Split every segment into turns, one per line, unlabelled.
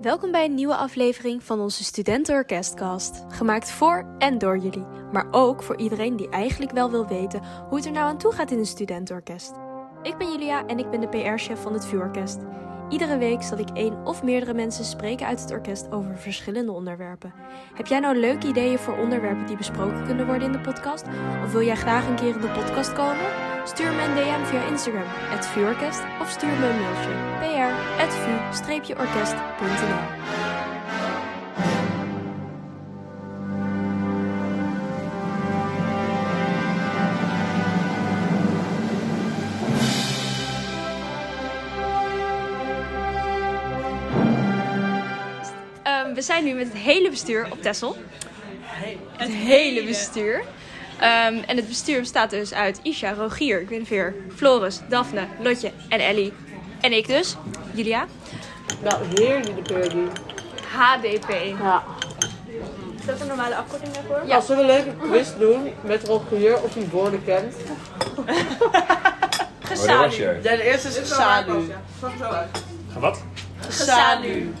Welkom bij een nieuwe aflevering van onze Studentenorkestcast. Gemaakt voor en door jullie, maar ook voor iedereen die eigenlijk wel wil weten hoe het er nou aan toe gaat in een studentenorkest. Ik ben Julia en ik ben de PR-chef van het VU-orkest. Iedere week zal ik één of meerdere mensen spreken uit het orkest over verschillende onderwerpen. Heb jij nou leuke ideeën voor onderwerpen die besproken kunnen worden in de podcast? Of wil jij graag een keer in de podcast komen? Stuur me een DM via Instagram, het VU-orkest, of stuur me een mailtje, pr.vu-orkest.nl. Ehm, we zijn nu met het hele bestuur op Tessel. Het hele bestuur. Ehm, en het bestuur bestaat dus uit Isha, Rogier, Gwynveer, Floris, Daphne, Lotje en Ellie. En ik dus, Julia.
Nou, heerlijke curry.
HDP.
Ja.
Is dat een normale afkorting daarvoor?
Als we een leuke quiz doen met Rogier of hij woorden kent.
Oh, daar was jij.
Ja, de eerste is Gesadu.
Wat?
Gesadu.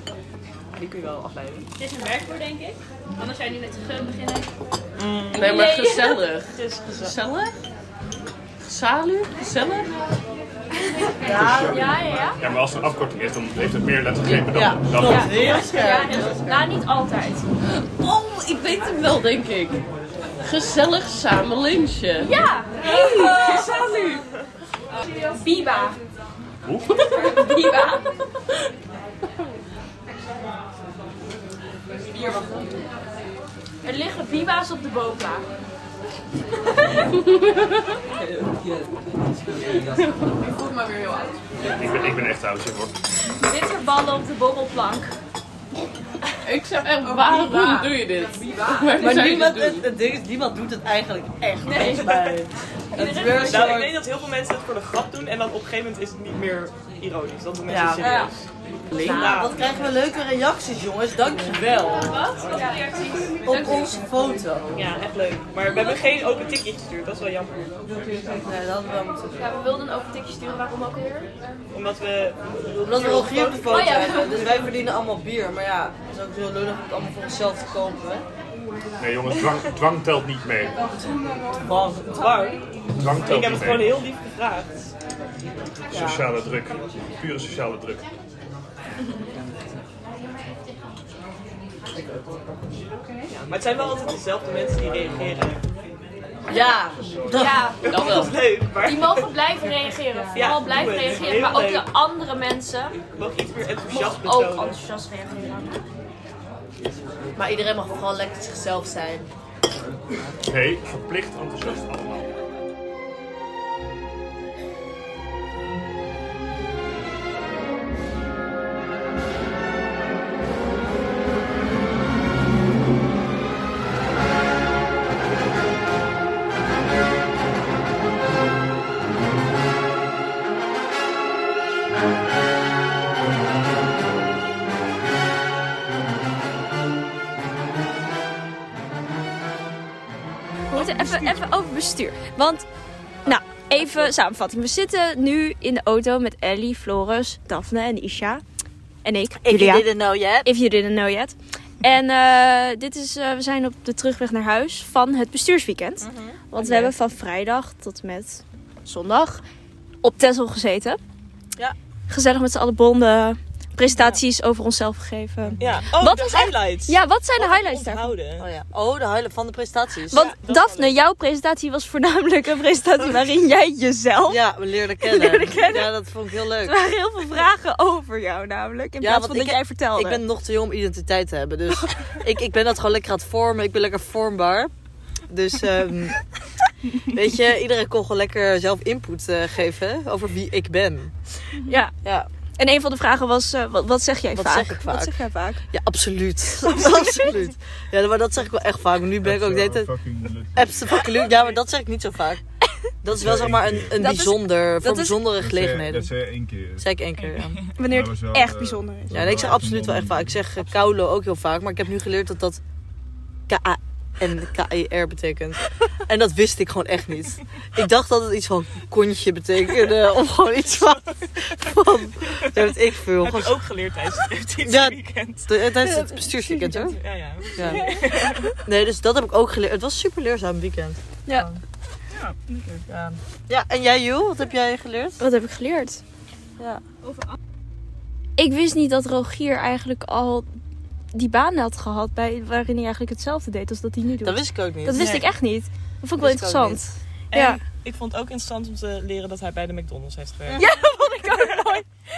Die kun je wel afleiden.
Dit is een werkwoord, denk ik. Anders zijn jullie met de ge beginnen.
Nee, maar gezellig.
Het is
Gezellig?
gezellig.
Gesalu? Gezellig?
Ja, ja, ja.
Ja, maar als het een afkorting is, dan heeft het meer lettergrepen dan...
Ja,
dan
klopt. Heel
ja
scherp.
dus, nou, niet altijd.
Oh, ik weet hem wel, denk ik. Gezellig samen lunchen.
Ja! Hey, Salu! Biba.
Hoe?
Biba. Er liggen biba's op de bopa.
Ik ben, ik ben echt oud, zeg hoor.
Bitterballen op de bobbelplank.
Ik zou
Oh,
echt, waarom doe je dit? maar
Maar
zou je
niemand,
dit
het,
doen?
het ding is, niemand doet het eigenlijk echt.
Nee.
Bij. Het is
dus
weer een
Nou, ik
soort...
weet dat heel veel mensen het voor de grap doen en dan op een gegeven moment is het niet meer ironisch. Dat doen mensen
Ja.
serieus.
Nou, wat krijgen we leuke reacties, jongens. Dankjewel.
Wat? Ja, precies.
Op onze foto.
Ja, echt leuk. Maar we hebben geen open tikje gestuurd, dat is wel jammer.
Nee, dat hadden we wel moeten doen.
Ja, we wilden ook een tikje sturen, waarom ook alweer?
Omdat we...
Omdat we Rogier op de foto
Oh ja.
hebben, dus wij verdienen allemaal bier. Maar ja, het is ook heel lullig om het allemaal voor onszelf te kopen.
Nee jongens, dwang, dwang telt niet mee.
Bang.
Dwang.
Dwang
Ik heb
telt
het
niet
gewoon
mee.
heel lief gevraagd.
Sociale druk. Pure sociale druk.
Maar het zijn wel altijd dezelfde mensen die reageren.
Ja.
Ja,
Dat is leuk, maar
die mogen blijven reageren. Vooral
Ja,
blijven
doe het.
reageren,
Heel
maar ook
leuk.
de andere mensen.
ik mag iets meer enthousiast
ook
betonen.
enthousiast reageren.
Maar iedereen mag gewoon lekker zichzelf zijn.
Nee, verplicht enthousiast allemaal.
We moeten even, even over bestuur. Want, nou, even samenvatting. We zitten nu in de auto met Ellie, Floris, Daphne en Isha. En ik, Julia.
know yet.
If you didn't know yet. En eh, dit is, eh, we zijn op de terugweg naar huis van het bestuursweekend.
Mhm.
Want we hebben van vrijdag tot met zondag op Texel gezeten.
Ja.
Gezellig met z'n allen bonden, presentaties over onszelf gegeven.
Ja, oh,
Wat
de
was echt-
highlights.
Ja, wat zijn de
Wat
highlights daarvan?
onthouden.
Oh ja. Oh, de highlight van de prestaties.
Want
dat
Daphne, jouw presentatie was voornamelijk een presentatie waarin jij jezelf...
Oh. Ja, we leerden kennen.
Leerden kennen.
Ja, dat vond ik heel
Er
leuk.
waren heel veel vragen over jou namelijk, in plaats
want
van dat
ik-
jij vertelde.
Ik ben nog te jong om identiteit te hebben. Dus ik, ik ben dat gewoon lekker aan het vormen. Ik ben lekker vormbaar. Dus ehm, weet je, iedereen kon gewoon lekker zelf input eh, geven over wie ik ben.
Ja.
Ja,
En een van de vragen was, eh, wat, wat zeg jij
Wat
vaak?
zeg ik
Wat
vaak?
zeg jij vaak?
ja absoluut. absoluut. Ja, maar dat zeg ik wel echt vaak. Maar Nu ben ik ook de hele tijd- Apps te fucking leuk. Ja, maar dat zeg ik niet zo vaak. Dat is wel zeg maar een, een
Dat is-
bijzonder, voor
is-
bijzondere gelegenheden.
Dat zei je één keer.
zeg ik één keer, ja.
Wanneer
Dat
het
was wel,
echt
eh,
bijzonder is.
Ja, en ik zeg absoluut wel echt vaak. Ik zeg eh, koulo ook heel vaak, maar ik heb nu geleerd dat dat K-A-U-L-O en KIR betekent. En dat wist ik gewoon echt niet. Ik dacht dat het iets van kontje betekende. Of gewoon iets van... van dat weet ik veel.
Heb
Gewoon,
je ook geleerd tijdens dit
Ja.
weekend?
tijdens het bestuursweekend hoor.
Ja, ja.
Ja. Nee, dus dat heb ik ook geleerd. Het was super leerzaam weekend.
Ja.
Ja, leuk. Ja.
Ja, en jij Joel, wat heb jij geleerd?
Wat heb ik geleerd?
Ja.
Ik wist niet dat Rogier eigenlijk al die baan had gehad bij, waarin hij eigenlijk hetzelfde deed als dat hij nu doet.
Dat wist ik ook niet.
Dat wist
Nee.
ik echt niet. Dat vond ik wel
Wist ik ook
interessant.
En
Ja.
ik vond het ook interessant om te leren dat hij bij de McDonald's heeft gewerkt.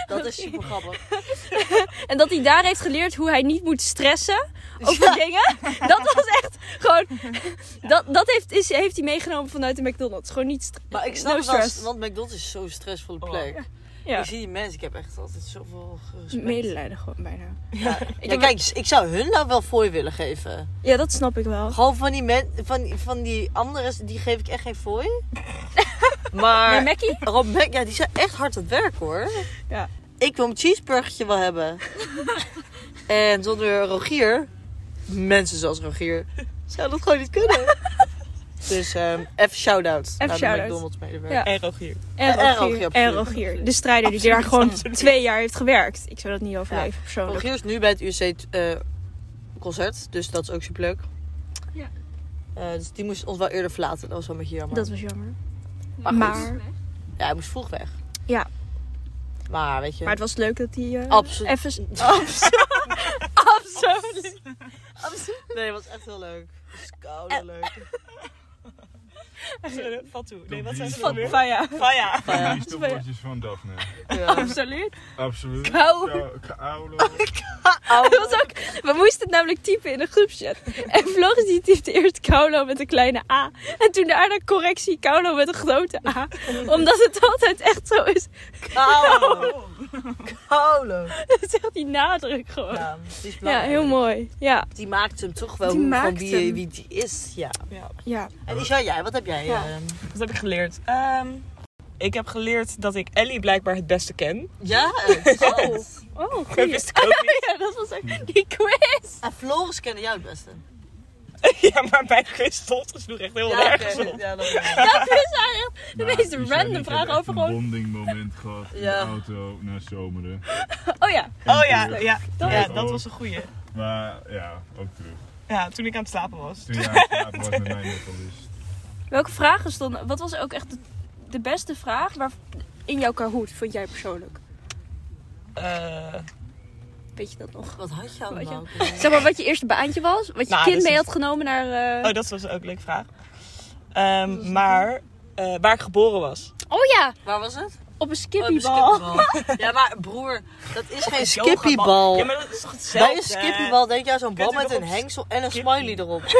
Dat is super grappig.
En dat hij daar heeft geleerd hoe hij niet moet stressen over dingen. Dat was echt gewoon. Dat, dat heeft, is, heeft hij meegenomen vanuit de McDonald's. Gewoon niet. stre-
Maar ik snap
No
het wel,
stress.
want McDonald's is zo'n stressvolle
Oh.
plek.
Ja.
Ik zie die mensen, ik heb echt altijd zoveel respect.
Medelijden gewoon bijna.
Ja, kijk, ik zou hun nou wel fooi willen geven.
Ja, dat snap ik wel.
Gewoon van die, men, van, van die anderen, die geef ik echt geen fooi. maar
Maar Mackie?
Rob Mac, ja, die zijn echt hard aan het werk hoor.
Ja.
Ik wil een cheeseburgertje wel hebben. en zonder Rogier, mensen zoals Rogier, zou dat gewoon niet kunnen. dus ehm even shout-out naar de
shout-out.
McDonald's medewerker.
Ja.
En Rogier.
En
En Rogier,
Rogier.
absoluut.
En Rogier. De strijder die daar gewoon twee jaar heeft gewerkt. Ik zou dat niet overleven persoonlijk.
Rogier is nu bij het UC-concert, dus dat is ook superleuk.
Ja.
Eh, dus die moest ons wel eerder verlaten, dat was wel een beetje jammer.
Dat was jammer.
Maar,
Maar-
Ja, hij moest vroeg weg.
Ja.
Maar weet je...
Maar het was leuk dat hij. eh,
Absoluut.
Even. Absoluut. Absoluut.
Nee, het was echt heel leuk. Het was koud en leuk.
Sorry, Fatou. Nee, Eh, wat zijn ze
Van
dan weer?
Faya.
Faya.
Maar ja,
Kies de woordjes van Daphne.
ja.
Absoluut.
Absoluut.
Kou.
Kou- Koude.
Dat was ook, we moesten het namelijk typen in een groepchat. En Floris die typte eerst Kaulo met een kleine A. En toen daarna correctie Kaulo met een grote A. Omdat het altijd echt zo is.
Koud. Koud.
Dat is echt die nadruk gewoon. Ja,
Ja, die is belangrijk.
heel mooi. Ja,
Die maakt hem toch wel
Die
hoe- van
maakt
wie,
hem.
wie die is. Ja.
ja.
En die zou jij, wat heb jij?
Ja.
ehm?
Wat heb ik geleerd? Ehm, ik heb geleerd dat ik Ellie blijkbaar het beste ken.
ja? eh, oh.
Oh,
Dat
goeie.
wist ik ook niet.
Ja, dat was ook die quiz.
En Floris kende jou het beste.
Ja, maar bij Christophe sloeg echt heel
Ja,
erg
oké.
op.
Ja, dat wel.
Dat is eigenlijk de
Nou,
meest
Isha, die
random
heeft
vraag
eh,
echt
over
een
gewoon...
bonding moment gehad in
Ja.
de auto naar Zomeren.
Oh ja,
Oh ja, ja,
Dat
ja,
is-
dat was een goeie.
Maar ja, ook terug.
Ja, toen ik aan het slapen was.
Toen je aan het slapen was met mij nog wel eens.
welke vragen stonden... Wat was ook echt de, de beste vraag waar, in jouw Kahoot, vond jij persoonlijk?
Eh,
Weet je dat nog?
Wat had je
Wat je-
allemaal?
Zeg maar wat je eerste baantje was, wat je
Nou,
kind
dus
mee
het-
had genomen naar. eh,
oh, dat was ook een leuke vraag. Ehm, maar eh, waar ik geboren was.
Oh ja,
Waar was het?
op een
Oh, een
skippiebal.
skippybal. Ja, maar broer, dat is geen
Yoga-
skippybal.
Ja, maar dat is toch hetzelfde?
Bij een skippybal denk jij zo'n bal
Kunt u
met een
erop
hengsel en een
skippie?
smiley erop.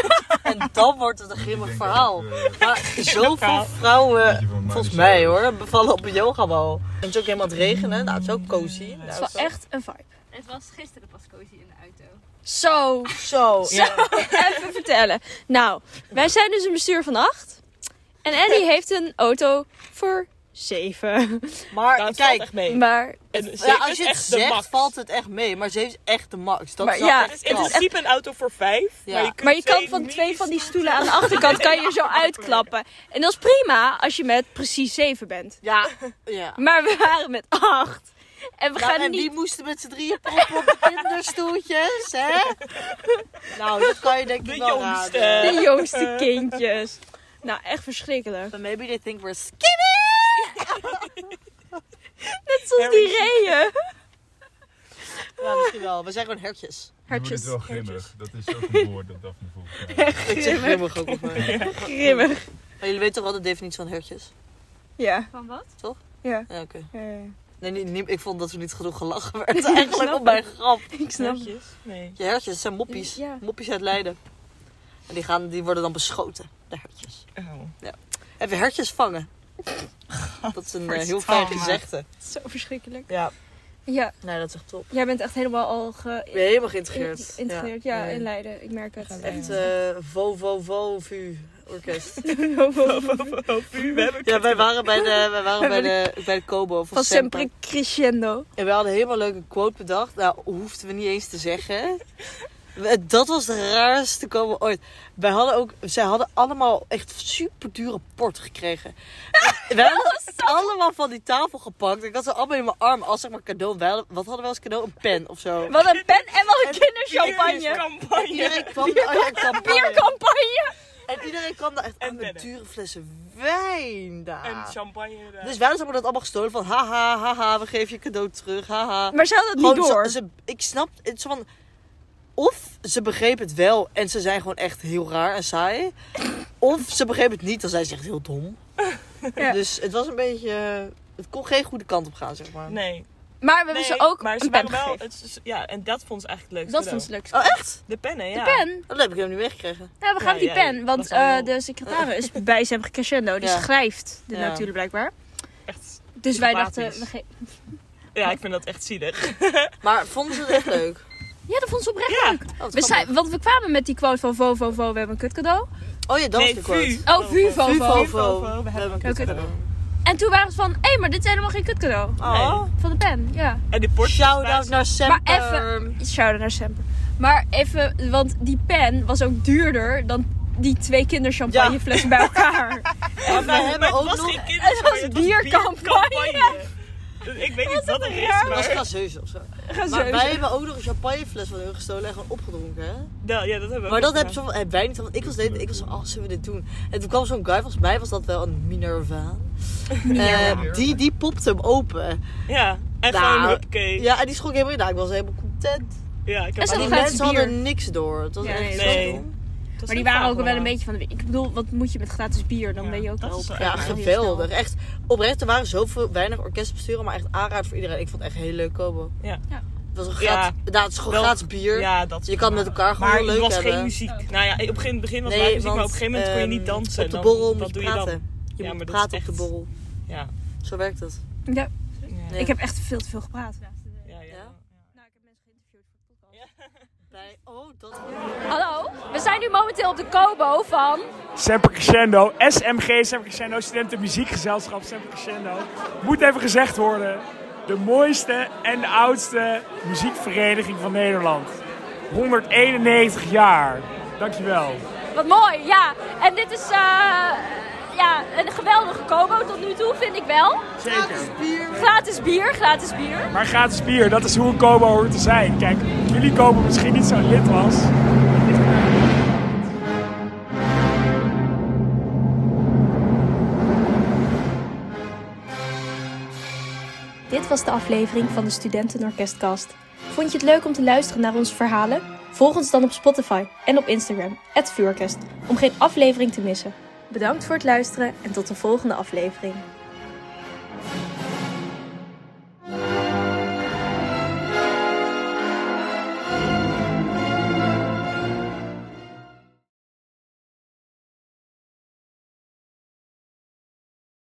En dan wordt het een grimmig
Ik denk
verhaal.
dat het, eh,
Maar zoveel vrouwen,
Beetje van Miley
volgens mij
Cyrus.
hoor, bevallen op een yogabal. En het is ook helemaal aan het regenen. Nou, het is ook cozy. Nou,
Het
Oh,
was wel echt een vibe.
Het was gisteren pas cozy in de auto.
Zo,
Zo. Ja.
even vertellen. Nou, wij zijn dus een bestuur van acht. En Eddie heeft een auto voor zeven.
Nou,
Maar
het valt
kijk,
echt mee.
Maar
En
ja,
zeven
als je
is
het
echt de max.
zegt, valt het echt mee. Maar ze heeft echt de max. Dat
Maar
is
ja,
ja,
Het is
echt
in
knap.
principe een auto voor vijf.
Ja.
Maar je, kunt
Maar je kan
twee
van twee van die
mini's-
stoelen aan de achterkant kan je zo uitklappen. En dat is prima als je met precies zeven bent.
Ja, ja.
Maar we waren met acht. En we
Nou,
gaan
en
niet...
die moesten met z'n drieën proppen op de kinderstoeltjes, hè? Nou, dat kan je denk ik
De
wel
jongste.
raden.
De jongste kindjes. Nou, echt verschrikkelijk.
But maybe they think we're skinny.
Net zoals die reeën.
Ja, misschien wel. We zijn gewoon hertjes.
Je wordt
Hartjes.
het wel grimmig. Dat is ook een woord dat Daphne volgens mij.
Ik zeg grimmig ook op mij.
Grimmig.
Maar jullie weten toch wel de definitie van hertjes?
Ja.
Van wat?
Ja, oké.
Eh,
Nee, niet, niet- ik vond dat we niet genoeg gelachen werden eigenlijk op mijn grap.
ik snap het.
Netjes. Nee.
Je hertjes zijn moppies.
Ja.
Moppies uit Leiden. En die, gaan, die worden dan beschoten, de hertjes.
Oh.
Even hertjes vangen. Dat is een eh, heel fijn gezegde.
Zo verschrikkelijk.
Ja,
Ja,
nee, dat is echt top.
jij bent echt helemaal al
Ik ben helemaal geïntegreerd.
geïntegreerd. Ja,
nee.
in Leiden. Ik merk het.
Echt eh vo vo vo vu orkest.
We hebben
Ja, wij waren bij de, wij waren bij de, bij de Kobo van,
Van
Semper.
sempre crescendo.
En we hadden helemaal leuke quote bedacht. Nou, hoefden we niet eens te zeggen. We- Dat was het raarste komen ooit. Wij hadden ook, zij hadden allemaal echt super dure port gekregen. En Wij hadden allemaal van die tafel gepakt. Ik had ze allemaal in mijn arm als zeg maar cadeau. Wij hadden- wat hadden we als cadeau? Een pen of zo.
Wat een pen en wat een kinderchampagne.
dus Champagne.
Iedereen kwam daar oh ja, champagne.
Biercampagne.
En iedereen kwam daar echt
En
aan met
pennen.
dure flessen wijn
En
daar.
champagne. eh,
Dus wij hebben dat allemaal gestolen van haha, haha, we geven je cadeau terug, haha.
Maar ze hadden het
Gewoon,
niet door.
Ze, ze- ik snap het zo van. Of ze begreep het wel en ze zijn gewoon echt heel raar en saai. Of ze begreep het niet, dan zijn ze echt heel dom.
Ja.
Dus het was een beetje. eh, Het kon geen goede kant op gaan, zeg maar.
Nee.
Maar we hebben
nee,
ze ook
maar ze
een pen
waren wel,
gegeven.
het is- ja, en dat vond ze eigenlijk het leukste.
Dat vond ze leuk.
Oh, echt? Oh,
De pennen, ja.
De pen?
Dat heb ik hem niet weggekregen.
Nou, we gaan
Ja,
die
ja,
pen.
dat
Want
is allemaal-
eh, de secretaris bij ze hebben crescendo. Die
Ja.
schrijft de
Ja.
natuurlijk blijkbaar.
Echt.
Dus wij
Sympathisch.
dachten... We ge-
Ja, ik vind dat echt zielig.
Maar vonden ze het echt leuk?
ja, dat vond ze oprecht
Ja.
leuk.
Oh, wat
We
grappig.
zei, want we kwamen met die quote van Vo, Vo, Vo, we hebben een kutcadeau.
Oh ja, dat was de quote.
vu.
Oh, vu, vo,
Vu,
vo.
vo.
vo, vo.
We hebben
een kutcadeau. En toen waren ze van, hé, maar dit is helemaal geen kutcadeau.
Oh.
Van de pen, ja.
En de portie.
Shout-out naar Semper.
even- Shout-out naar Semper. Maar even, want die pen was ook duurder dan die twee kinderchampagneflessen bij elkaar.
Maar wij
Maar
hebben
het
ook
was
nog...
geen
Het
kinderchampagne,
het was biercampagne.
Dus Ik weet niet wat er is,
was
maar...
gazeus of zo.
Gaan
Maar
zo.
wij hebben ook nog een champagnefles van hun gestolen en gewoon opgedronken, hè?
Nou, ja, dat hebben we
Maar
ook
dat
gedaan.
hebben, ze, van- hebben wij niet. Want ik was, de hele tijd- ik was zo, oh, zullen we dit doen? En toen kwam zo'n guy, volgens mij was dat wel een Minerva. Eh, die, die popte hem open.
Ja, en
Nou,
gewoon, hoppakee. Ja.
Ja, en die schrok helemaal in. Nou, ik was helemaal content.
ik
En
heb
ze
Maar die
een glaasje
mensen
bier.
hadden niks door. Het was
Ja,
echt
nee,
zo
dat
dom.
Maar die waren ook wel een beetje van de... Ik bedoel, wat moet je met gratis bier? Dan
Ja,
ben je ook
dat is
open.
wel
Ja,
Heel
geweldig.
snel.
Echt, oprecht, er waren zoveel weinig orkestbesturen, maar echt aanraad voor iedereen. Ik vond het echt heel leuk komen.
Ja.
Ja.
Het was een
Ja.
gratis, nou, het is gewoon
Wel-
gratis bier.
Ja, dat is
Dus Je kan
prima.
met elkaar gewoon
maar
heel leuk
het was
hebben.
geen muziek. Nou ja, op het begin- begin was
Nee,
live muziek, maar
want,
op een gegeven moment kon je
ehm,
niet dansen.
Op de
Dan-
borrel
wat
moet je
doe je dan?
praten. Je
Ja,
moet
maar dat is
praten op de
echt-
borrel.
Ja.
Zo werkt het.
Ja,
Ja.
ik heb echt veel te veel gepraat.
Ja, ja.
Ja?
Nou, ik heb mensen geïnterviewd voor de podcast.
Bij, oh, dat...
Hallo, we zijn nu momenteel op de Kobo van...
Semper Crescendo, SMG Semper Crescendo, studentenmuziekgezelschap Semper Crescendo. Moet even gezegd worden, de mooiste en de oudste muziekvereniging van Nederland. 191 jaar, dankjewel.
Wat mooi, ja. En dit is eh, ja, een geweldige Kobo tot nu toe, vind ik wel.
Zeker.
Gratis bier, gratis bier.
Maar gratis bier, dat is hoe een Kobo hoort te zijn. Kijk, jullie Kobo misschien niet zo'n lid was.
Dit was de aflevering van de Studentenorkestkast. Vond je het leuk om te luisteren naar onze verhalen? Volg ons dan op Spotify en op Instagram, @vuurorkest, om geen aflevering te missen. Bedankt voor het luisteren en tot de volgende aflevering.